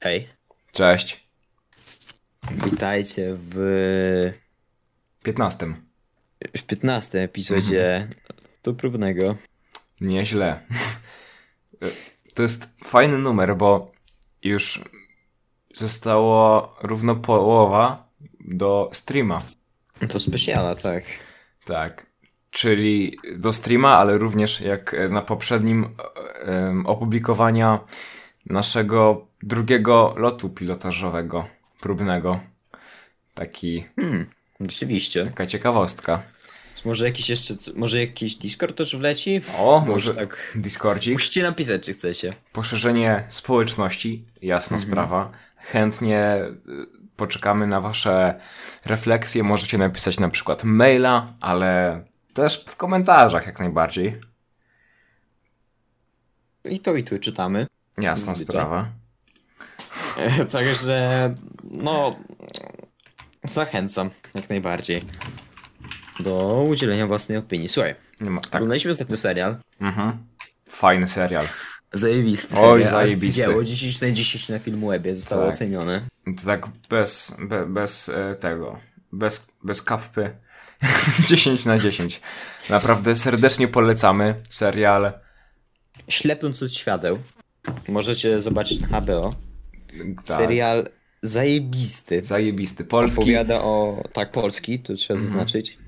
Hej, Cześć. witajcie w, 15. w 15 epizodzie Mhm. to próbnego. Nieźle. To jest fajny numer, bo już zostało równo połowa do streama. To specjala, tak. Tak. Czyli do streama, ale również jak na poprzednim em, opublikowania naszego drugiego lotu pilotażowego, próbnego. Taki, Hmm, rzeczywiście. taka ciekawostka. Więc Może jakiś jeszcze, może jakiś Discord też wleci? O, może tak. Discordzik. Musicie napisać, czy chcecie. Poszerzenie społeczności, jasna Mhm. sprawa. Chętnie y, poczekamy na Wasze refleksje. Możecie napisać na przykład maila, ale też w komentarzach jak najbardziej. I to i tu czytamy. Jasna Zazwyczaj. sprawa. Także, no, zachęcam jak najbardziej do udzielenia własnej opinii. Słuchaj, Nie ma, tak. oglądaliśmy ostatnio serial. Mhm. Fajny serial. Zajebisty Oj, serial. zajebisty. Dzieło 10 na 10 na Filmwebie zostało Tak. ocenione. To tak bez, be, bez e, tego, bez, bez kappy. 10 na 10. Naprawdę serdecznie polecamy serial. Ślepnąc od świateł. Możecie zobaczyć na HBO. Tak, Serial zajebisty. Zajebisty. Polski. Mhm. Opowiada o. Tak, polski, to trzeba zaznaczyć.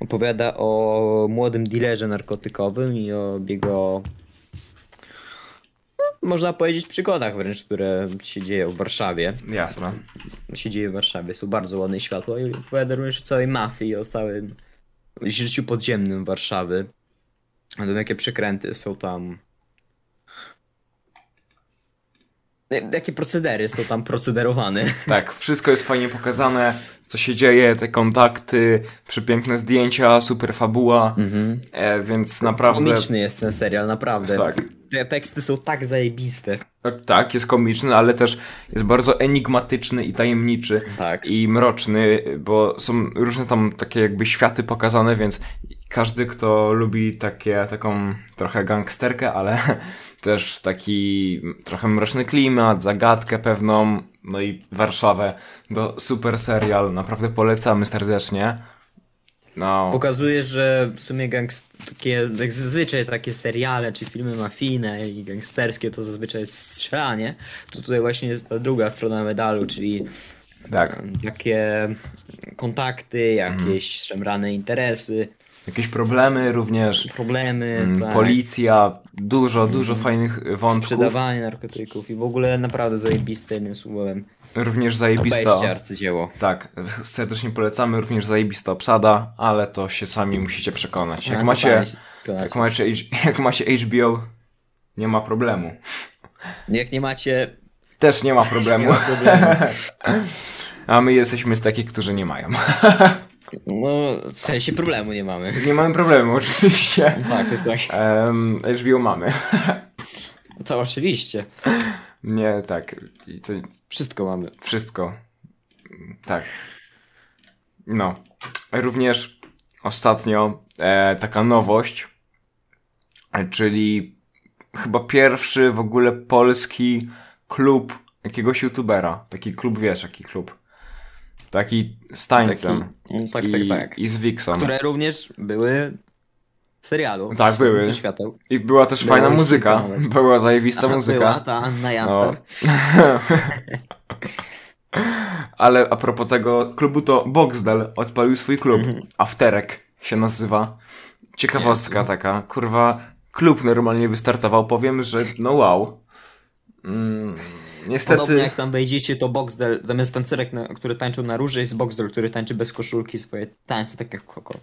Opowiada o młodym dealerze narkotykowym i o jego. no, Można powiedzieć przygodach wręcz, które się dzieją w Warszawie. Jasne. Się dzieje w Warszawie, są bardzo ładne światła i opowiada również o całej mafii, o całym życiu podziemnym Warszawy. O tym, jakie przekręty są tam. Ja- Jakie procedery są tam procederowane. Tak, wszystko jest fajnie pokazane, co się dzieje, te kontakty, przepiękne zdjęcia, super fabuła, Mhm. e, więc naprawdę... Komiczny jest ten serial, naprawdę. Tak. Te teksty są tak zajebiste. E, Tak, jest komiczny, ale też jest bardzo enigmatyczny i tajemniczy Tak. i mroczny, bo są różne tam takie jakby światy pokazane, więc każdy, kto lubi takie, taką trochę gangsterkę, ale też taki trochę mroczny klimat, zagadkę pewną, no i Warszawę, to super serial, naprawdę polecamy serdecznie. No, Pokazuje, że w sumie gangst- takie, jak zazwyczaj takie seriale czy filmy mafijne i gangsterskie to zazwyczaj jest strzelanie. To tutaj właśnie jest ta druga strona medalu, czyli tak, em, takie kontakty, Mm. jakieś szemrane interesy, jakieś problemy również, problemy, mm, tak, policja, dużo, dużo fajnych wątków, sprzedawanie narkotyków i w ogóle naprawdę zajebiste jednym słowem. również zajebista. Obejście arcydzieło. Tak, serdecznie polecamy również zajebista obsada, ale to się sami musicie przekonać. A Jak co macie, sami się przekonacie. jak macie, H- jak macie HBO, nie ma problemu. Jak nie macie Też nie ma problemu. nie ma problemu. A my jesteśmy z takich, którzy nie mają. No, w sensie problemu nie mamy. Nie mamy problemu, oczywiście. Tak, tak, tak. Em, HBO mamy. To oczywiście. Nie, tak. I to Wszystko mamy. wszystko. Tak. No. Również ostatnio e, taka nowość, e, czyli chyba pierwszy w ogóle polski klub jakiegoś youtubera. Taki klub, wiesz, jaki klub. Taki z tańcem. No, tak, i, tak, tak. I z Wixą. Które również były w serialu. Tak, były. Ze świateł. I była też Było fajna ich muzyka. kilka nawet. Była zajebista A, muzyka. No. Była ta Anna Jantar. Ale a propos tego klubu, to Boxdel odpalił swój klub. Afterek się nazywa. Ciekawostka taka. Kurwa, klub normalnie wystartował. Powiem, że no wow. Mm, Podobnie niestety. jak tam wejdziecie, to Boxdel, zamiast tancerek, na, który tańczył na róży, jest Boxdel, który tańczy bez koszulki swoje tańce, tak jak Koko.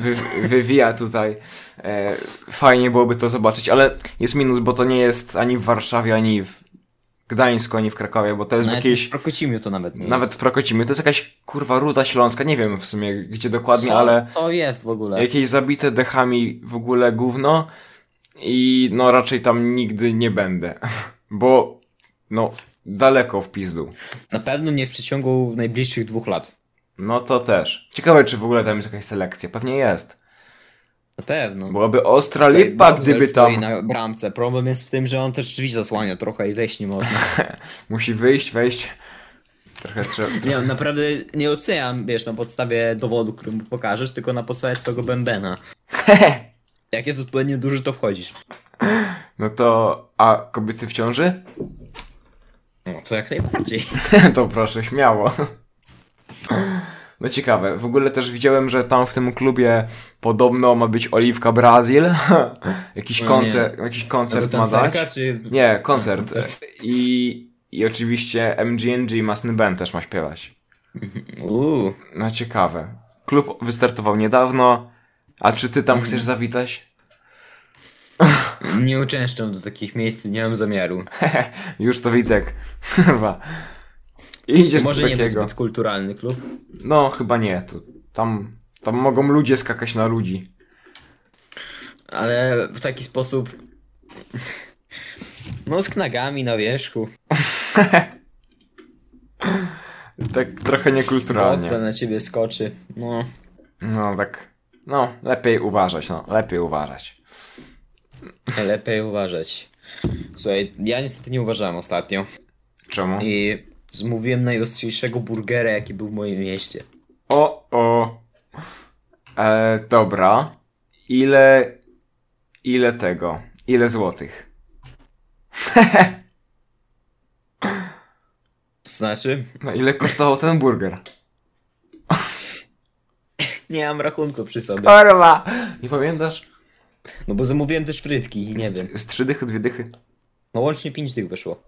Więc... Wy, wywija tutaj. E, fajnie byłoby to zobaczyć, ale jest minus, bo to nie jest ani w Warszawie, ani w Gdańsku, ani w Krakowie, bo to jest w Nawet jakiejś. w Prokocimiu to nawet nie Nawet jest. w Prokocimiu. To jest jakaś kurwa ruda śląska. Nie wiem w sumie gdzie dokładnie, Co ale. To jest w ogóle. jakieś zabite dechami w ogóle gówno i no raczej tam nigdy nie będę, bo no daleko w pizdu. Na pewno nie w przeciągu najbliższych dwóch lat. No to też. Ciekawe, czy w ogóle tam jest jakaś selekcja. Pewnie jest. Na pewno. Byłaby ostra lipa, Bowser gdyby stoi tam... na bramce. Problem jest w tym, że on też drzwi zasłania trochę i wejść nie można. Musi wyjść, wejść. Trochę trzeba... Nie, on naprawdę nie oceniam, wiesz, na podstawie dowodu, który mu pokażesz, tylko na podstawie twojego bębena. Jak jest odpowiednio duży, to wchodzisz. No to... A kobiety w ciąży? No to jak najbardziej. to proszę, śmiało. No ciekawe, w ogóle też widziałem, że tam w tym klubie podobno ma być Oliwka Brazil. jakiś, O nie. No koncert, jakiś koncert ma dać. Czy... Nie, koncert. No, koncert. I, I oczywiście MGNG Masny Ben też ma śpiewać. Uuu. No ciekawe. Klub wystartował niedawno. A czy ty Mm. tam chcesz zawitać? Nie uczęszczam do takich miejsc, nie mam zamiaru. Już to widzę. jak- Chyba. Idziesz Może do nie takiego. jest zbyt kulturalny klub. No, chyba nie. To, tam, tam mogą ludzie skakać na ludzi. Ale w taki sposób. No, z knagami na wierzchu. Tak Mocno trochę niekulturalnie. na ciebie skoczy. No. No tak. No, lepiej uważać, no, lepiej uważać. Lepiej uważać. Słuchaj, ja niestety nie uważałem ostatnio. Czemu? I zmówiłem najostrzejszego burgera, jaki był w moim mieście. O, o. E, dobra. Ile. Ile tego? Ile złotych? To znaczy, No, ile kosztował ten burger? nie mam rachunku przy sobie. Korwa! Nie pamiętasz? No bo zamówiłem też frytki i nie z, wiem. Z trzy dychy, dwie dychy. No łącznie 5 tych wyszło.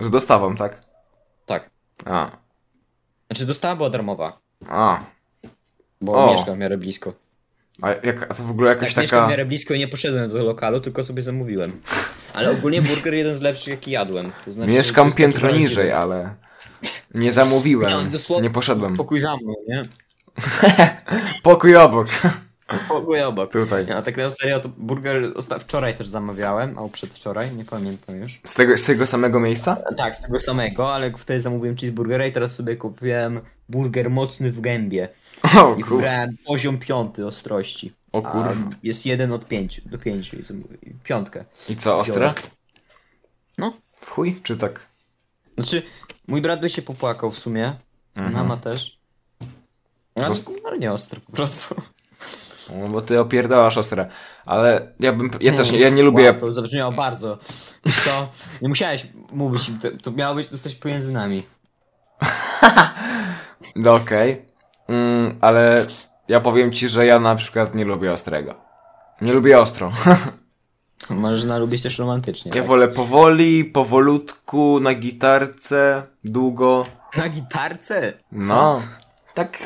Z dostawą, tak? Tak. A. Znaczy dostawa była darmowa, A. bo O. mieszkam w miarę blisko. A jak, a to w ogóle jakaś Tak, mieszkam taka. w miarę blisko i nie poszedłem do lokalu, tylko sobie zamówiłem. Ale ogólnie burger jeden z lepszych, jaki jadłem. To znaczy, to Mieszkam jest taki piętro bardziej- niżej, ale. Nie zamówiłem. Nie, on dosłownie- nie poszedłem. Pokój za mną, nie? Pokój obok. Pokój obok. Tutaj. Nie, A tak na serio, to burger osta- wczoraj też zamawiałem, albo przedwczoraj, nie pamiętam już. Z tego, z tego samego miejsca? Tak, z tego samego, ale wtedy zamówiłem cheeseburgera i teraz sobie kupiłem burger mocny w gębie. O, I kur... wybrałem poziom piąty ostrości. o A kur... Jest jeden od pięciu, do pięciu i zamówiłem piątkę. I co, ostre? No. W chuj? Czy tak? Znaczy, mój brat by się popłakał w sumie, Mhm. mama też. No, Zost- no nie ostro po prostu. No, bo ty opierdałasz ostre. Ale ja bym... Ja też nie, ja nie Wow, lubię... to zabrzmiało bardzo. Wiesz co? Nie musiałeś mówić, im, to, to miało być zostać pomiędzy nami. No okej. Mm, ale ja powiem ci, że ja na przykład nie lubię ostrego. Nie lubię ostro. Można lubić też romantycznie. Ja tak? wolę powoli, powolutku, na gitarce, długo. Na gitarce? Co? No. Tak...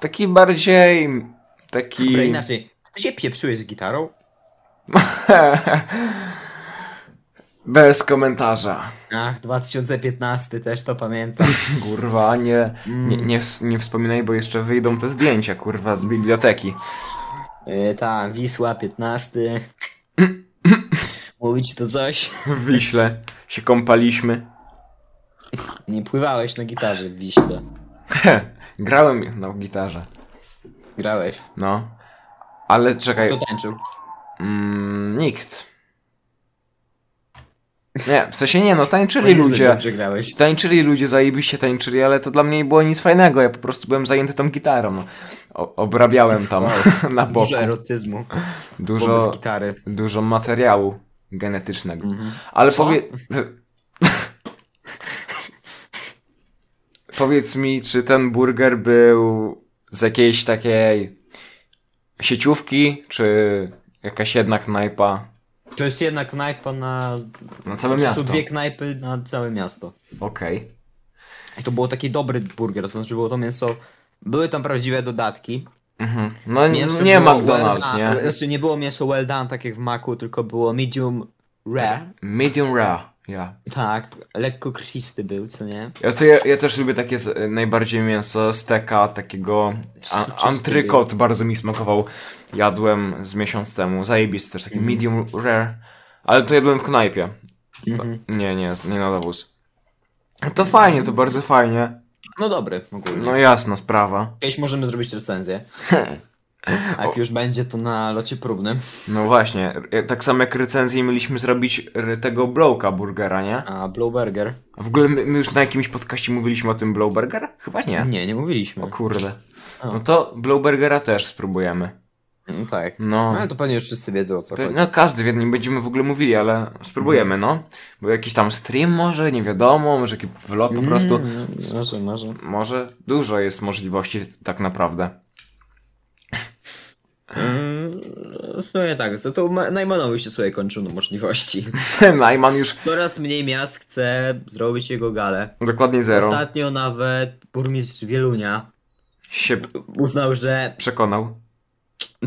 Taki bardziej... Taki... Dobra, inaczej. Ty się pieprzyłeś z gitarą? Bez komentarza. Ach, 2015 też to pamiętam. Kurwa, nie, nie, nie, ws- nie wspominaj, bo jeszcze wyjdą te zdjęcia, kurwa, z biblioteki. Yy, ta, Wisła 15. Mówi ci to coś? W Wiśle się kąpaliśmy. Nie pływałeś na gitarze w Wiśle. Grałem na gitarze. Grałeś. No. Ale czekaj, Kto tańczył? mm, nikt. Nie, w sensie nie, no tańczyli Niezbyt ludzie. Dobrze grałeś. Tańczyli ludzie, zajebiście tańczyli, ale to dla mnie nie było nic fajnego, ja po prostu byłem zajęty tą gitarą. no. O, obrabiałem tam na boku. Dużo erotyzmu. Dużo, Wobec gitary. dużo materiału genetycznego. Ale powie... powiedz mi, czy ten burger był z jakiejś takiej sieciówki, czy jakaś jedna knajpa To jest jedna knajpa na... na całe to są miasto? dwie knajpy na całe miasto. Okej. I to było taki dobry burger, to znaczy było to mięso... Były tam prawdziwe dodatki. Mhm. No nie, Mięso nie było McDonald's, well done. nie? Znaczy nie było mięso well done, tak jak w maku, tylko było medium rare. Medium rare, ja. Tak, lekko krwisty był, co nie? Ja, to ja, ja też lubię takie z, najbardziej mięso steka, takiego a, Soczysty antrykot bardzo mi smakował. Jadłem z miesiąc temu, zajebisty też, taki medium rare. Ale to jadłem w knajpie. To, nie, nie, nie na dowóz. To fajnie, to bardzo fajnie. No dobry, ogólnie. No jasna sprawa. Kiedyś możemy zrobić recenzję. Jak już będzie to na locie próbnym. No właśnie, jak- tak samo jak recenzję mieliśmy zrobić r- tego Blowka Burgera, nie? A Blue Burger? A w ogóle my, my już na jakimś podcaście mówiliśmy o tym Blowburger? Chyba nie. Nie, nie mówiliśmy. O kurde. A. No to Blowburgera też spróbujemy. No tak. No. No, ale to pewnie już wszyscy wiedzą o co Pe- chodzi. No każdy wie, nie będziemy w ogóle mówili, ale spróbujemy, no. Bo jakiś tam stream może, nie wiadomo, może jakiś vlog po prostu. Mm, może, może. Może dużo jest możliwości tak naprawdę. Mm, No nie tak, to, to Ma- Najmanowi się swoje kończą możliwości. Najman już Coraz mniej miast chce zrobić jego galę. dokładnie zero Ostatnio nawet burmistrz Wielunia się uznał, że. przekonał.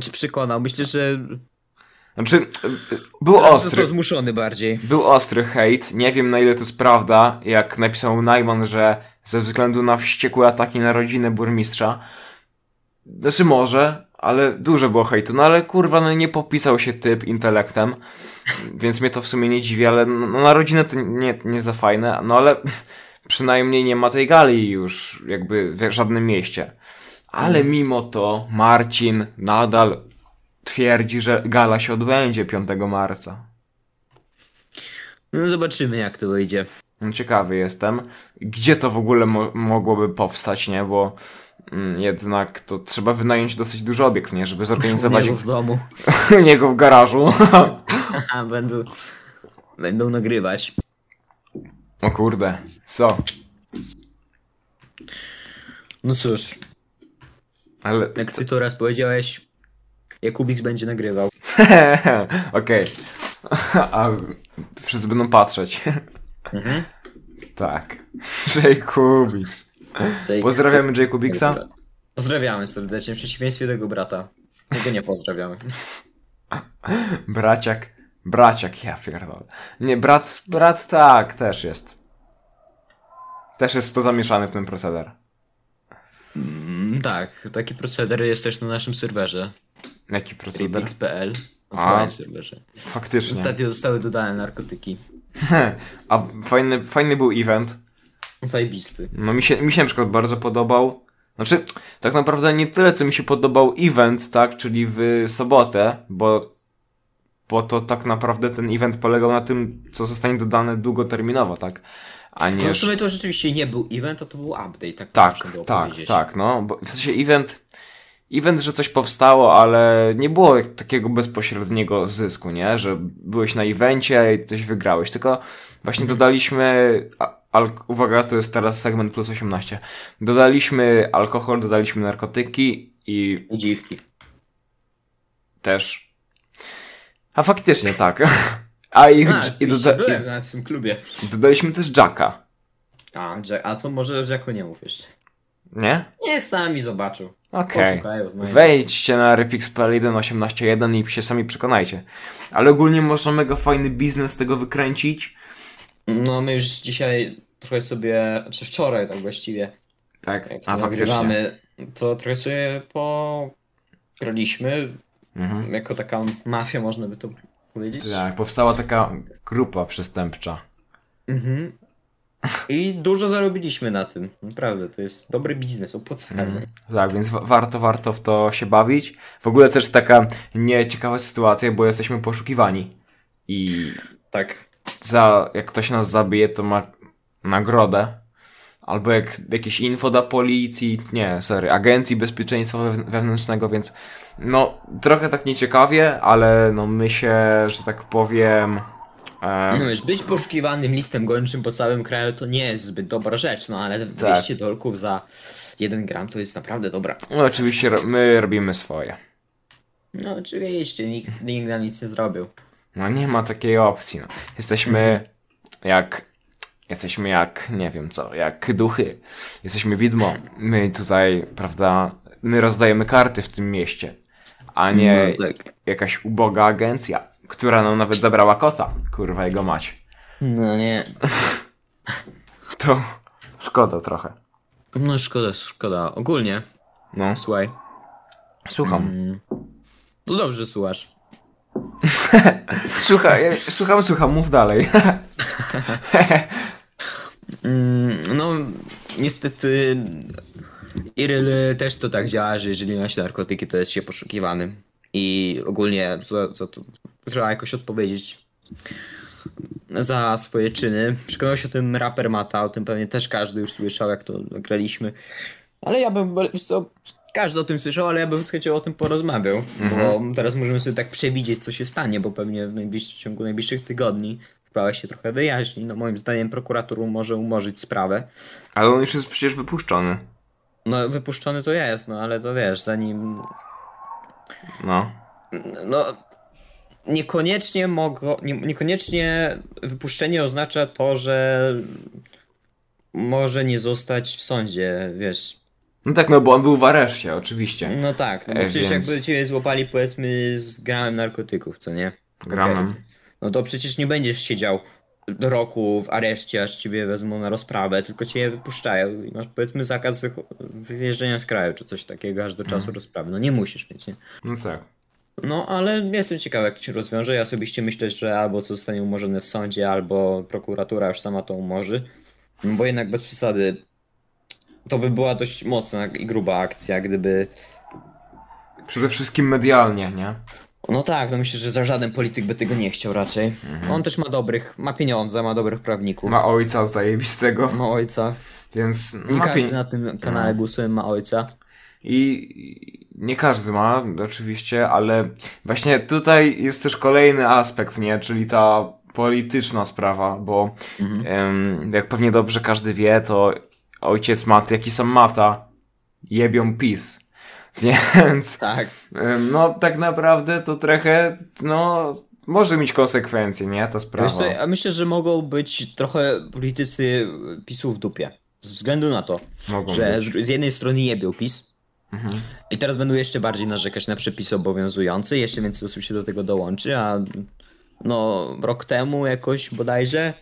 Czy przekonał? Myślę, że. Znaczy, y, y, był ostry. Został zmuszony bardziej. Był ostry hejt, nie wiem na ile to jest prawda, jak napisał Najman, że ze względu na wściekłe ataki na rodzinę burmistrza. Znaczy może, ale dużo było hejtu, no ale kurwa, no nie popisał się typ intelektem, więc mnie to w sumie nie dziwi, ale no, na rodzinę to nie, nie za fajne, no ale przynajmniej nie ma tej gali już jakby w żadnym mieście. Ale mimo to Marcin nadal twierdzi, że gala się odbędzie 5 marca. No zobaczymy, jak to wyjdzie. No, Ciekawy jestem, gdzie to w ogóle mo- mogłoby powstać, nie? Bo mm, jednak to trzeba wynająć dosyć duży obiekt, nie? Żeby zorganizować Zabawił w domu. u niego w garażu. A, będą. Będą nagrywać. o kurde, co? No cóż, Ale... jak ty to raz powiedziałeś, Jakubix będzie nagrywał. Okej. A wszyscy będą patrzeć. Mhm. tak. Jacobix. Pozdrawiamy Jacobixa. Pozdrawiamy serdecznie, w przeciwieństwie do jego brata. Jego nie pozdrawiamy. Braciak. Braciak, ja pierdolę. Nie, brat, brat tak, też jest. Też jest w to zamieszany w ten proceder. Mm, tak, taki proceder jest też na naszym serwerze. Jaki proceder? Rapix.pl. A. Odpalałem w serwerze. Faktycznie. Ostatnio zostały dodane narkotyki. A fajny, fajny był event. Zajebisty. No mi się, mi się na przykład bardzo podobał. Znaczy, tak naprawdę nie tyle, co mi się podobał event, tak, czyli w sobotę, bo, bo to tak naprawdę ten event polegał na tym, co zostanie dodane długoterminowo, tak? A nie. No w że- sumie to rzeczywiście nie był event, a to był update, tak? Tak, można było tak, powiedzieć. tak, no, bo w sensie event, event, że coś powstało, ale nie było jak- takiego bezpośredniego zysku, nie, że byłeś na evencie i coś wygrałeś, tylko właśnie Mhm. dodaliśmy, a- al- uwaga, to jest teraz segment plus 18, dodaliśmy alkohol, dodaliśmy narkotyki i I dziwki. też, a faktycznie tak, a i, A, i, i doda- byłem nawet w tym klubie. i dodaliśmy też Jacka, A, Jack, a to może już jako nie mów jeszcze. nie? Niech sami zobaczą. Okej. Poszukają, znajdą. Wejdźcie na rypix.pl 1.18.1 i się sami przekonajcie. Ale ogólnie można mega fajny biznes z tego wykręcić. No my już dzisiaj trochę sobie, czy wczoraj tak właściwie, Tak, jak a to faktycznie. nagrywamy, to trochę sobie pograliśmy, Mhm. jako taka mafia można by to powiedzieć. Tak, powstała taka grupa przestępcza. Mhm. I dużo zarobiliśmy na tym. Naprawdę, to jest dobry biznes, opłacalny. Mhm. Tak, więc wa- warto, warto w to się bawić. W ogóle też taka nieciekawa sytuacja, bo jesteśmy poszukiwani. I Tak. za, jak ktoś nas zabije, to ma nagrodę. Albo jak jakieś info da policji, nie, sorry, agencji bezpieczeństwa wewn- wewnętrznego, więc no trochę tak nieciekawie, ale no my się, że tak powiem, e, No wiesz, być poszukiwanym listem gończym po całym kraju to nie jest zbyt dobra rzecz, no ale Tak. 200 dolków za 1 gram to jest naprawdę dobra. no oczywiście ro- my robimy swoje. No oczywiście, nikt, nikt nam nic nie zrobił. No nie ma takiej opcji, no. Mhm. Jesteśmy jak, jesteśmy jak, nie wiem co, jak duchy. Jesteśmy widmo. My tutaj, prawda, my rozdajemy karty w tym mieście, a nie No, tak. jakaś uboga agencja, która nam nawet zabrała kota. Kurwa, jego mać. no nie. To szkoda trochę. No szkoda, szkoda. Ogólnie, No, słuchaj. słucham. Mm. To dobrze słuchasz. Słuchaj, ja- słucham, słucham, mów dalej. Mm, no, niestety Iryl y, też to tak działa, że jeżeli ma się narkotyki, to jest się poszukiwanym. I ogólnie, co, co tu, trzeba jakoś odpowiedzieć za swoje czyny. Przekonał się o tym raper Mata, o tym pewnie też każdy już słyszał, jak to graliśmy. Ale ja bym, wiesz co, każdy o tym słyszał, ale ja bym chętnie o tym porozmawiał, bo teraz możemy sobie tak przewidzieć, co się stanie, bo pewnie w, najbliższym, w ciągu najbliższych tygodni sprawa się trochę wyjaśni. No moim zdaniem prokurator może umorzyć sprawę. Ale on już jest przecież wypuszczony. No wypuszczony to jest, no ale to wiesz, zanim No. no, niekoniecznie mogło, nie, niekoniecznie wypuszczenie oznacza to, że może nie zostać w sądzie, wiesz. No tak, no bo on był w areszcie, oczywiście. No tak, no bo E, przecież więc- jakby cię złapali powiedzmy z gramem narkotyków, co nie? Gramem. Okej. No to przecież nie będziesz siedział do roku w areszcie, aż ciebie wezmą na rozprawę, tylko cię wypuszczają i masz powiedzmy zakaz wycho- wyjeżdżania z kraju czy coś takiego aż do czasu Mhm. rozprawy. No nie musisz mieć, nie? No tak. No, ale jestem ciekawy, jak to się rozwiąże. Ja osobiście myślę, że albo to zostanie umorzone w sądzie, albo prokuratura już sama to umorzy. No, Bo jednak bez przesady to by była dość mocna i gruba akcja, gdyby. Przede wszystkim medialnie, nie? No tak, no myślę, że za żaden polityk by tego nie chciał raczej. Mhm. On też ma dobrych, ma pieniądze, ma dobrych prawników. Ma, Ma ojca zajebistego, ojca. więc Nie ma Mhm. każdy pieni- na tym kanale głosuje ma ojca. I i nie każdy ma, oczywiście, ale właśnie tutaj jest też kolejny aspekt, nie? Czyli ta polityczna sprawa, bo Mhm. em, jak pewnie dobrze każdy wie, to ojciec Maty, jak i sam Mata, jebią PiS. Więc Tak. em, no tak naprawdę to trochę, no może mieć konsekwencje, nie? Ta sprawa. Wiesz co, ja myślę, że mogą być trochę politycy PiSu w dupie. Z względu na to, Mogą że być. z z jednej strony jebią PiS, Mhm. I teraz będą jeszcze bardziej narzekać na przepis obowiązujący, jeszcze więcej osób się do tego dołączy, a no rok temu jakoś bodajże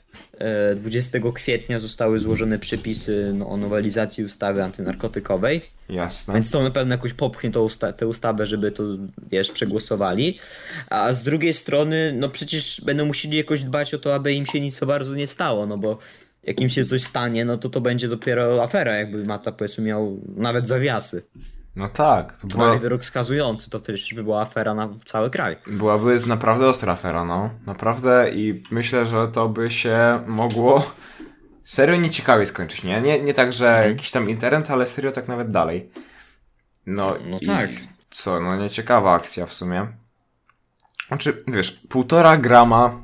e, 20 kwietnia zostały złożone przepisy no, o nowelizacji ustawy antynarkotykowej, Jasne. więc to na pewno jakoś popchnie tą usta- tę ustawę, żeby to, wiesz, przegłosowali, a z drugiej strony, no przecież będą musieli jakoś dbać o to, aby im się nic za bardzo nie stało, no bo jak im się coś stanie, no to to będzie dopiero afera, jakby Mata powiedzmy miał nawet zawiasy. No tak, to była, Dali wyrok skazujący, to też by była afera na cały kraj. byłaby naprawdę ostra afera, no. Naprawdę i myślę, że to by się mogło serio nieciekawie skończyć, nie? Nie, nie tak, że Mhm. jakiś tam internet, ale serio tak nawet dalej. No, No i tak. Co, no nieciekawa akcja w sumie. Znaczy, wiesz, półtora grama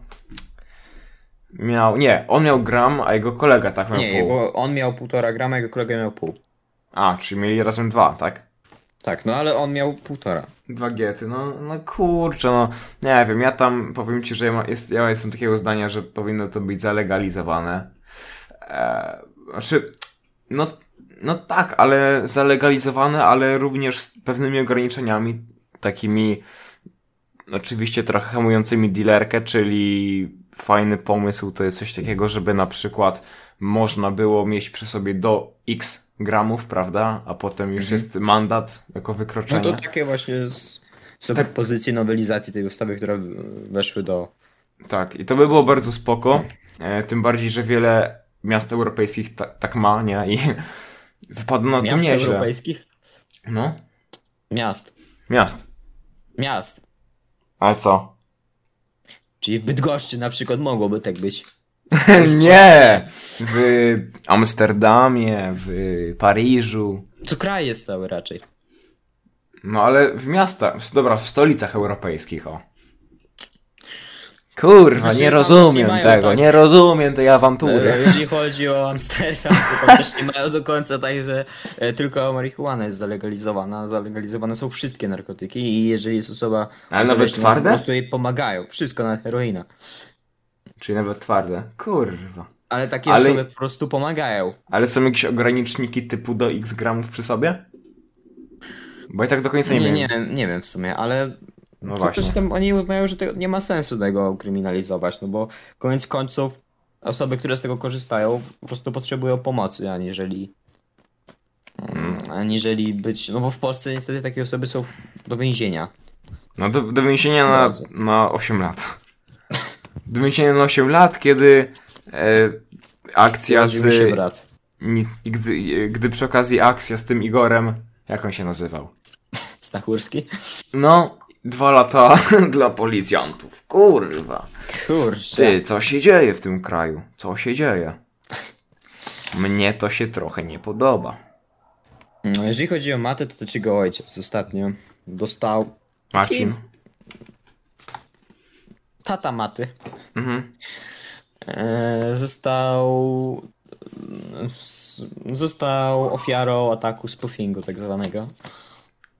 miał, nie, on miał gram, a jego kolega tak miał Nie, pół. bo on miał półtora grama, jego kolega miał pół. A, czyli mieli razem dwa, tak? Tak, no ale on miał półtora. Dwa gety, no, no kurczę, no nie wiem, ja tam powiem ci, że ja, ma, jest, ja jestem takiego zdania, że powinno to być zalegalizowane. E, znaczy, no, no tak, ale zalegalizowane, ale również z pewnymi ograniczeniami, takimi oczywiście trochę hamującymi dealerkę, czyli fajny pomysł to jest coś takiego, żeby na przykład można było mieć przy sobie do x gramów, prawda, a potem już jest mandat jako Mhm. No wykroczenie. to takie właśnie z, są propozycje nowelizacji tej ustawy, które w- weszły do... Tak, i to by było bardzo spoko. E, tym bardziej, że wiele miast europejskich ta, tak ma, nie? I wypadło na tym Miast No nieźle. europejskich? No, Miast. miast. Miast. Ale co? Czyli w Bydgoszczy na przykład mogłoby tak być. nie! W Amsterdamie, w Paryżu. Co kraj jest cały raczej. No ale w miastach, w- dobra, w stolicach europejskich, o. Znaczy, Kurwa, nie tam nie rozumiem mają tego, tak- nie rozumiem tej awantury. E, Jeżeli chodzi o Amsterdam, to tam też nie mają do końca tak, że e, tylko marihuana jest zalegalizowana. Zalegalizowane są wszystkie narkotyki i jeżeli jest osoba... Ale nawet uzależniona, twarde? Po prostu jej pomagają. Wszystko na heroina. Czyli nawet twarde. Kurwa. Ale takie Ale- osoby po prostu pomagają. Ale są jakieś ograniczniki typu do x gramów przy sobie? Bo ja tak do końca nie, Nie, wiem. nie, nie wiem w sumie, ale No to właśnie. też tam oni uznają, że to nie ma sensu tego kryminalizować, no bo koniec końców osoby, które z tego korzystają, po prostu potrzebują pomocy, aniżeli Mm. aniżeli być, no bo w Polsce niestety takie osoby są do więzienia. No do, do więzienia na, Bardzo. na 8 lat. Do więzienia na 8 lat, kiedy e, akcja Urodził mi się z brat. Ni- I gdy, gdy przy okazji akcja z tym Igorem, jak on się nazywał? Stachurski? No, dwa lata dla policjantów. Kurwa. Kurczę. Ty, co się dzieje w tym kraju? Co się dzieje? Mnie to się trochę nie podoba. No, jeżeli chodzi o matę, to to ci go ojciec ostatnio dostał. Marcin? Tata maty. Mhm. E, został. z- Został ofiarą ataku spoofingu, tak zwanego.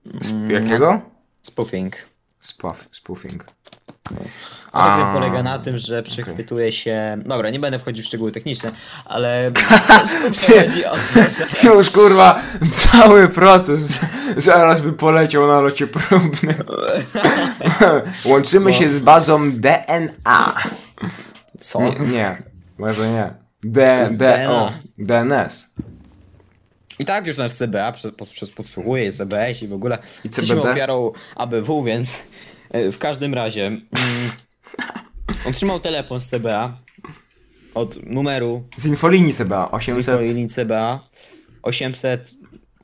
Mm, Sp- jakiego? Spoofing. Spaf- Mm, spoofing. A to A. polega na tym, że przechwytuje się. Dobra, nie będę wchodził w szczegóły techniczne, ale. chodzi o to, że. Już kurwa, cały proces zaraz by poleciał na locie próbnym. Łączymy się z bazą DNA. Co? Nie, nie może nie. D, Z D, o, DNA. DNS. I tak już nasz CBA przez, przez podsłuchuje, CBS i w ogóle. I Jesteśmy CBD? ofiarą ABW, więc e, w każdym razie. Mm, on trzymał telefon z CBA od numeru Z infolinii CBA 800, linii CBA 800.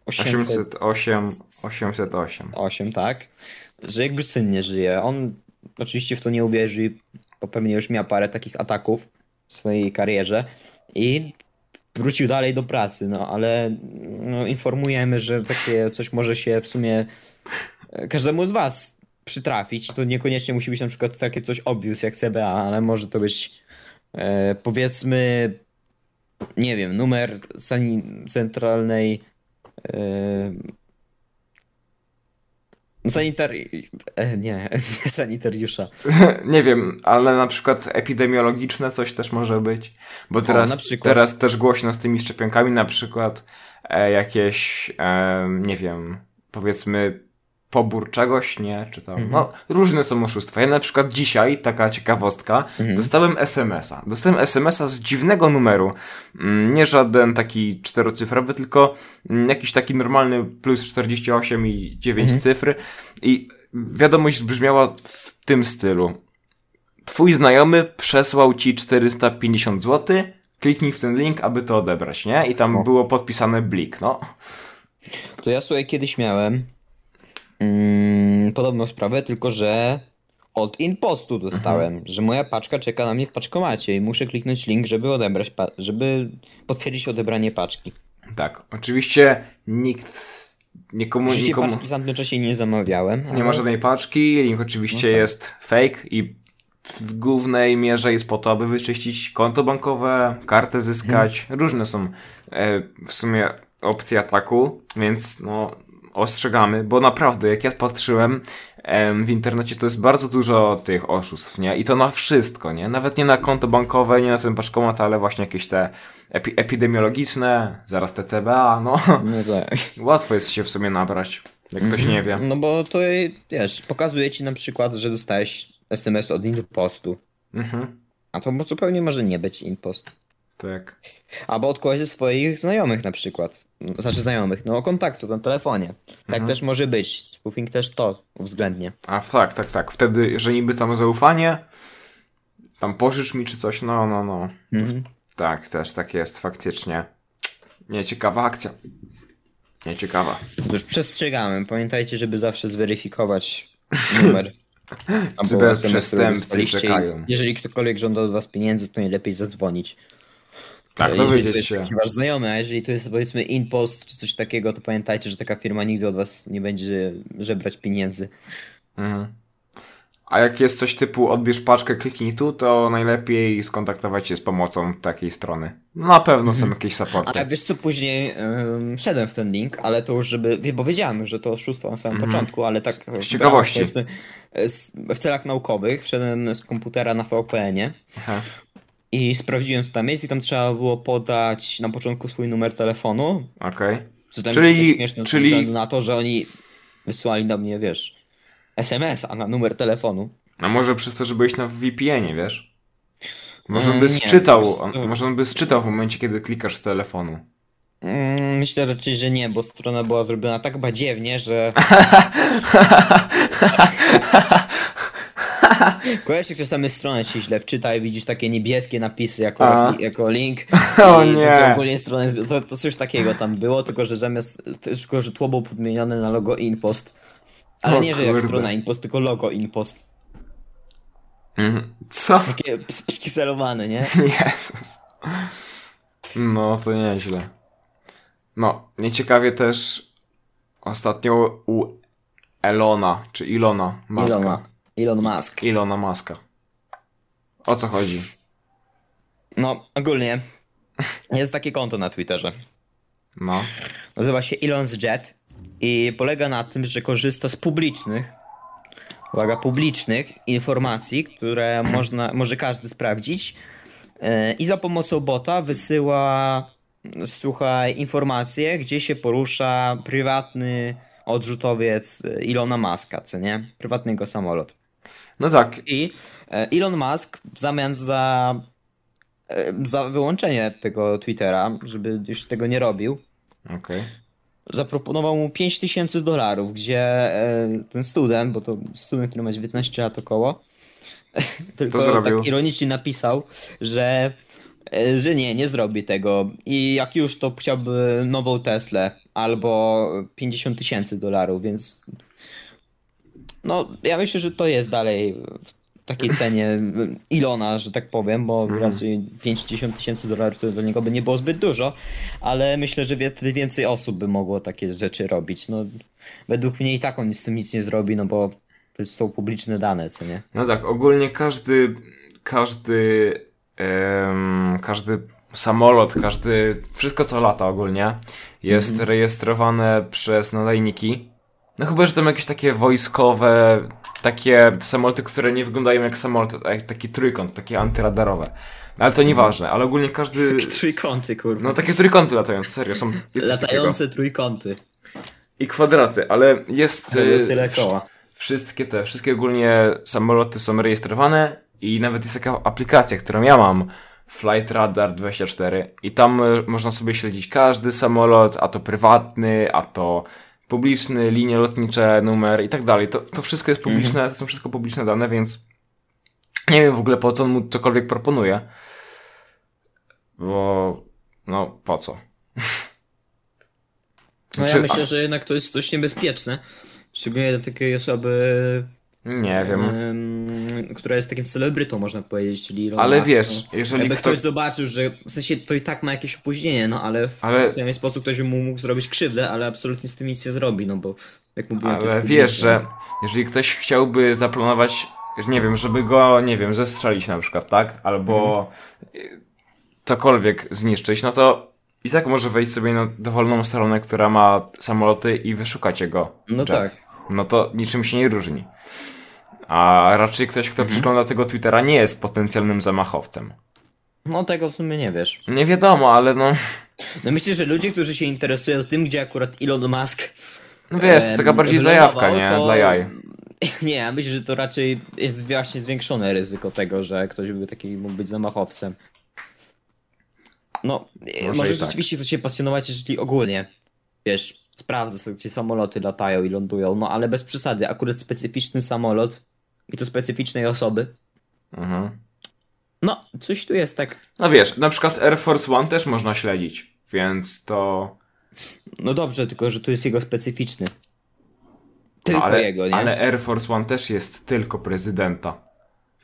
808, 808. 8, tak? Że jakby syn nie żyje. On oczywiście w to nie uwierzy, bo pewnie już miał parę takich ataków w swojej karierze i wrócił dalej do pracy, no ale no, informujemy, że takie coś może się w sumie e, każdemu z was przytrafić. To niekoniecznie musi być na przykład takie coś obvious jak CBA, ale może to być e, powiedzmy nie wiem, numer sani- centralnej e, Sanitar... e, Nie, nie sanitariusza. Nie wiem, ale na przykład epidemiologiczne coś też może być. Bo na teraz, przykład. teraz też głośno z tymi szczepionkami, na przykład e, jakieś, e, nie wiem, powiedzmy pobór czegoś, nie? Czy tam, Mhm. no, różne są oszustwa. Ja na przykład dzisiaj, taka ciekawostka, Mhm. dostałem SMS-a. Dostałem SMS-a z dziwnego numeru. Mm, Nie żaden taki czterocyfrowy, tylko mm, jakiś taki normalny plus 48 i 9 Mhm. cyfr. I wiadomość brzmiała w tym stylu. Twój znajomy przesłał ci 450 zł. Kliknij w ten link, aby to odebrać, nie? I tam O. było podpisane blik, no. To ja sobie kiedyś miałem mm, podobną sprawę, tylko że od impostu dostałem, że moja paczka czeka na mnie w paczkomacie i muszę kliknąć link, żeby odebrać, pa- żeby potwierdzić odebranie paczki. Tak, oczywiście nikt, nikomu, Oczywiście nikomu... paczki w tamtym czasie nie zamawiałem. Nie ale- ma żadnej paczki, link oczywiście jest fake i w głównej mierze jest po to, aby wyczyścić konto bankowe, kartę zyskać. Różne są e, w sumie opcje ataku, więc no ostrzegamy, bo naprawdę jak ja patrzyłem em, w internecie to jest bardzo dużo tych oszustw, nie? I to na wszystko, nie? Nawet nie na konto bankowe, nie na ten paczkomat, ale właśnie jakieś te epi- epidemiologiczne, zaraz te CBA, no. No tak. Łatwo jest się w sumie nabrać, jak ktoś nie wie. No bo to, wiesz, pokazuje ci na przykład, że dostałeś SMS od impostu, Mhm. a to zupełnie może nie być impost. Tak. Albo od kogoś ze swoich znajomych na przykład. Znaczy znajomych, no kontaktów na telefonie. Tak Mhm. też może być. Spoofing też to uwzględnie. A tak, tak, tak. Wtedy, że niby tam zaufanie, tam pożycz mi czy coś, no, no, no. Tak, też tak jest, faktycznie. Nieciekawa akcja. Nieciekawa. Już przestrzegamy. Pamiętajcie, żeby zawsze zweryfikować numer. albo Cyberprzestępcy SMS, który dostaliście. czekają. Jeżeli ktokolwiek żąda od was pieniędzy, to najlepiej zadzwonić. Tak, Jeżeli to dowiedzieć jest się. taki wasz znajomy, a jeżeli to jest powiedzmy impost czy coś takiego, to pamiętajcie, że taka firma nigdy od was nie będzie żebrać pieniędzy. Mhm. A jak jest coś typu odbierz paczkę, kliknij tu, to najlepiej skontaktować się z pomocą takiej strony. No, Na pewno są jakieś Mhm. Ale supporty. wiesz co, później ym, szedłem w ten link, ale to już żeby, wie- bo wiedziałem, że to oszustwo na samym Mhm. początku, ale tak... e, ciekawości. brałem, powiedzmy, e, z- w celach naukowych wszedłem z komputera na VPN-ie Aha. i sprawdziłem co tam jest i tam trzeba było podać na początku swój numer telefonu, Okej. co tam Czyli- jest śmieszne czyli- ze względu na to, że oni wysłali do mnie, wiesz, SMS-a na numer telefonu. A no może przez to, że byłeś na VPN-ie, wiesz? Może on Mm, by nie, sczytał, wiesz co? on, może on by sczytał w momencie, kiedy klikasz z telefonu. Mm, Myślę raczej, że nie, bo strona była zrobiona tak badziewnie, że Kojarzysz, jak czasami stronę się źle wczyta i widzisz takie niebieskie napisy A. jako, jako link. O I nie. To ogólnie stronę, zbi- to, to coś takiego tam było, tylko że zamiast, tylko że tło było podmienione na logo InPost. Ale O nie, że jak kurde. strona InPost, tylko logo InPost. Mhm. Co? Takie ps- spikselowane, nie? Jezus. No, to nieźle. No, nieciekawie też ostatnio u Elona, czy Ilona Maska. Elon, Elon Musk. Ilona Maska. O co chodzi? No, ogólnie jest takie konto na Twitterze. No. Nazywa się Elon's Jet i polega na tym, że korzysta z publicznych, uwaga, publicznych informacji, które można, może każdy sprawdzić e, i za pomocą bota wysyła, słuchaj, informacje, gdzie się porusza prywatny odrzutowiec Ilona Maska, co nie? Prywatnego samolot. No tak, I e, Elon Musk w zamian za, e, za wyłączenie tego Twittera, żeby już tego nie robił, okej. zaproponował mu 5000 dolarów, gdzie e, ten student, bo to student, który ma 19 lat około, tylko zrobił. tak ironicznie napisał, że, e, że nie, nie zrobi tego i jak już to chciałby nową Teslę albo 50 tysięcy dolarów, więc no ja myślę, że to jest dalej w takiej cenie Ilona, że tak powiem, bo Mhm. raczej 50 tysięcy dolarów to dla niego by nie było zbyt dużo, ale myślę, że wie- wtedy więcej osób by mogło takie rzeczy robić. No, według mnie i tak on z tym nic nie zrobi, no bo to są publiczne dane, co nie? No tak, ogólnie każdy, każdy, em, każdy samolot, każdy, wszystko co lata ogólnie jest Mhm. rejestrowane przez nadajniki. No chyba, że tam jakieś takie wojskowe, takie samoloty, które nie wyglądają jak samolot, a jak taki trójkąt, takie antyradarowe. No, ale Mhm. to nieważne, ale ogólnie każdy, Trójkąty, kurwa. no takie trójkąty latające, serio, są, jest coś takiego. Latające trójkąty. I kwadraty, ale jest... y, tyle koła. wszystkie te, wszystkie ogólnie samoloty są rejestrowane i nawet jest taka aplikacja, którą ja mam, Flight Radar 24 i tam e, można sobie śledzić każdy samolot, a to prywatny, a to publiczny, linie lotnicze, numer i tak dalej. To, to wszystko jest Mhm. publiczne, to są wszystko publiczne dane, więc nie wiem w ogóle po co on mu cokolwiek proponuje. Bo, no, po co? No ja Czy- myślę, że jednak to jest coś niebezpieczne. Szczególnie dla takiej osoby, Nie wiem. Mm, em, która jest takim celebrytą, można powiedzieć, czyli Elon Ale Musk, wiesz, no. jeżeli Jakby ktoś... ktoś zobaczył, że w sensie to i tak ma jakieś opóźnienie, no ale w Ale- ale... pewien sposób ktoś by mu mógł zrobić krzywdę, ale absolutnie z tym nic nie zrobi, no bo jak mówiłem, to Ale jest wiesz, publiczne. że jeżeli ktoś chciałby zaplanować, że nie wiem, żeby go, nie wiem, zestrzelić na przykład, tak? Albo Mhm. y, cokolwiek zniszczyć, no to i tak może wejść sobie na dowolną stronę, która ma samoloty i wyszukać jego. No jet. tak. No to niczym się nie różni. A raczej ktoś, Mhm. kto przegląda tego Twittera, nie jest potencjalnym zamachowcem. No tego w sumie nie wiesz. Nie wiadomo, ale no, No myślę, że ludzie, którzy się interesują tym, gdzie akurat Elon Musk no wiesz, to jest taka em, bardziej wylądował, zajawka, nie? to- Dla jaj. Nie, ja myślę, że to raczej jest właśnie zwiększone ryzyko tego, że ktoś by taki mógł być zamachowcem. No, Może może, i może tak. rzeczywiście to się pasjonować, jeżeli ogólnie, wiesz, sprawdza sobie, gdzie samoloty latają i lądują, no ale bez przesady, akurat specyficzny samolot i to specyficznej osoby, Mhm. no, coś tu jest tak, No wiesz, na przykład Air Force One też można śledzić, więc to. no dobrze, tylko że tu jest jego specyficzny. Tylko No ale, jego, nie? ale Air Force One też jest tylko prezydenta.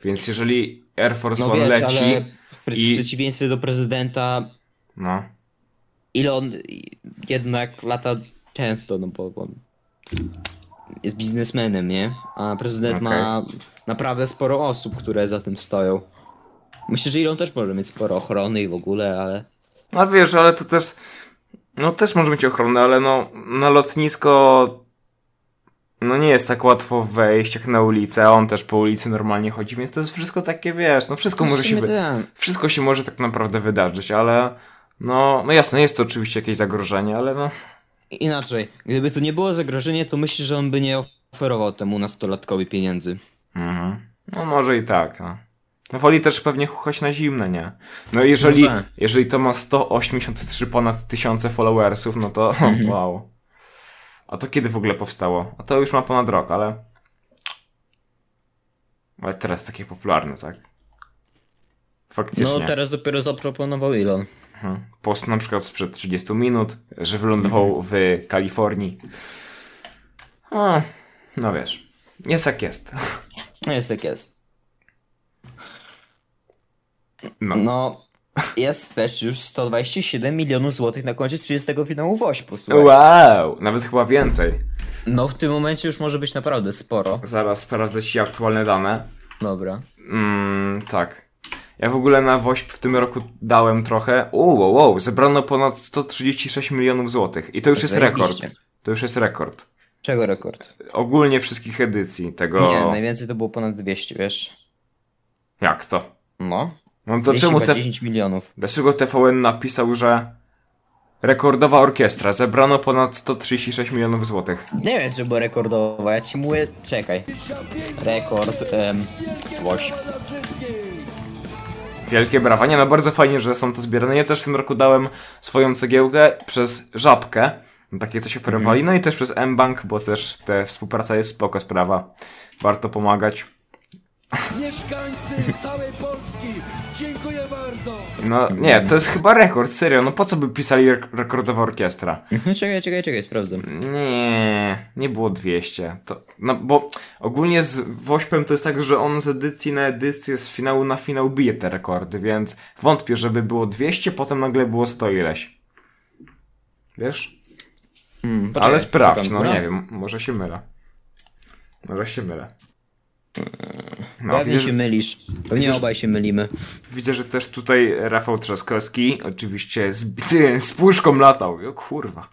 Więc jeżeli Air Force no One wiesz, leci. ale w i- przeciwieństwie do prezydenta No. Elon jednak lata często, no bo on jest biznesmenem, nie? A prezydent ma naprawdę sporo osób, które za tym stoją. Myślę, że Elon też może mieć sporo ochrony i w ogóle, ale No wiesz, ale to też. No też może mieć ochronę, ale no na lotnisko. No nie jest tak łatwo wejść jak na ulicę, a on też po ulicy normalnie chodzi, więc to jest wszystko takie, wiesz, no wszystko może W się sumie wy... tak. wszystko się może tak naprawdę wydarzyć, ale no, no jasne, jest to oczywiście jakieś zagrożenie, ale no Inaczej, gdyby to nie było zagrożenie, to myślę, że on by nie oferował temu nastolatkowi pieniędzy. Mhm. No może i tak. No. No woli też pewnie chuchać na zimne, nie? No jeżeli, No tak. jeżeli to ma 183 ponad tysiące followersów, no to Mhm. wow. A to kiedy w ogóle powstało? A to już ma ponad rok, ale... Ale teraz takie popularne, tak? No Faktycznie. teraz dopiero zaproponował Elon. Mhm. Post na przykład sprzed 30 minut, że Mhm. wylądował w Kalifornii. A, no wiesz, jest jak jest. No jest jak jest. No. No, jest też już 127 milionów złotych na koncie 30 finału WOŚP-u, słuchaj. Wow, nawet chyba więcej. No w tym momencie już może być naprawdę sporo. Zaraz sprawdzę ci aktualne dane. Dobra. Mm, tak. Ja w ogóle na WOŚP w tym roku dałem trochę. Uuu, wow, wow, zebrano ponad 136 milionów złotych. I to już jest rekord. Zajebiście. To już jest rekord. Czego rekord? Ogólnie wszystkich edycji tego. Nie, najwięcej to było ponad 200, wiesz. Jak to? No. No to 200 czemu chyba te... 10 milionów. Dlaczego TVN napisał, że rekordowa orkiestra zebrano ponad 136 milionów złotych? Nie wiem, czy było rekordowe, ja ci mówię, czekaj. Rekord, em, WOŚP. Wielkie brawa. Nie no, bardzo fajnie, że są to zbierane. Ja też w tym roku dałem swoją cegiełkę przez Żabkę. Takie coś oferowali. No i też przez M-Bank, bo też ta współpraca jest spoko sprawa. Warto pomagać. Mieszkańcy całej Polski, dziękuję bardzo. No nie, to jest chyba rekord, serio. No po co by pisali rek- rekordowa orkiestra? Mhm, Czekaj, czekaj, czekaj, sprawdzę. Nie, nie było 200. To, no bo ogólnie z Wośpem to jest tak, że on z edycji na edycję, z finału na finał bije te rekordy, więc wątpię, żeby było 200, potem nagle było 100 ileś. Wiesz? Mm, Ale poczekaj, sprawdź, szukam, no dobra? nie wiem, może się mylę. Może się mylę. No, Pewnie widzę, się że, mylisz. Pewnie widzisz- obaj się mylimy. widzę, że też tutaj Rafał Trzaskowski oczywiście z, ty, z puszką latał. O kurwa.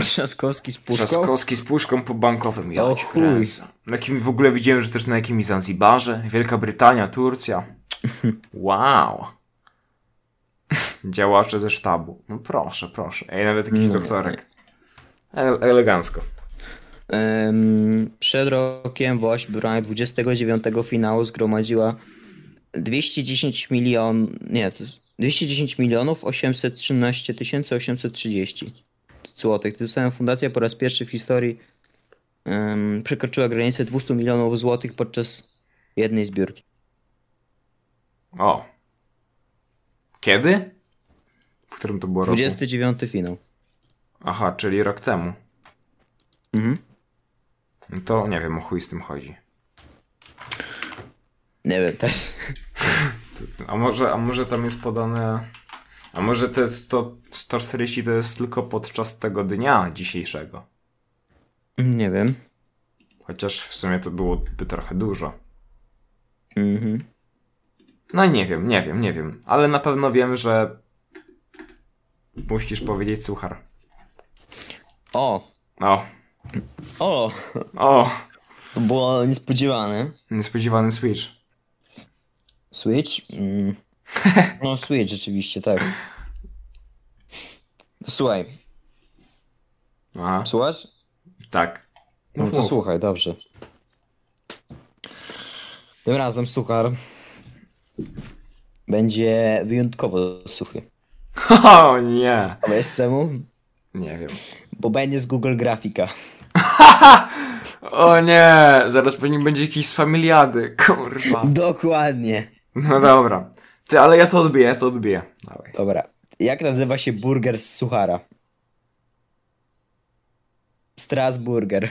Trzaskowski z puszką? Trzaskowski z puszką po bankowym. Ja O cię chuj. kręcę. Na jakim w ogóle widziałem, że też na jakimś Zanzibarze. Wielka Brytania, Turcja. Wow. Działacze ze sztabu. No proszę, proszę. Ej, nawet jakiś No. doktorek. Ele- elegancko. Em, przed rokiem WOŚ w ramach 29 finału zgromadziła 210 milion... Nie, to jest 210 milionów 813 tysięcy 830 złotych. Tym samym fundacja po raz pierwszy w historii em, przekroczyła granicę 200 milionów złotych podczas jednej zbiórki. O. Kiedy? W którym to było roku? 29 finał. Aha, czyli rok temu. Mhm. No To nie wiem, o chuj z tym chodzi. Nie wiem, też. A może, a może tam jest podane. A może te 100, 140 to jest tylko podczas tego dnia dzisiejszego. Nie wiem. Chociaż w sumie to byłoby trochę dużo. Mhm. No nie wiem, nie wiem, nie wiem. Ale na pewno wiem, że. Musisz powiedzieć suchar. O! O, O! o, To było niespodziewane. niespodziewany switch. Switch? Mm. No, Switch rzeczywiście, tak. Słuchaj, Aha, słuchasz? tak. No to słuchaj, dobrze. Tym razem suchar będzie wyjątkowo suchy. O nie, A wiesz czemu? nie wiem. Bo będzie z Google Grafika. O nie, zaraz pewnie będzie jakiś z familiady, kurwa. Dokładnie. No dobra. Ty, ale ja to odbiję, ja to odbiję. Dawaj. Dobra. Jak nazywa się burger z suchara? Strasburger.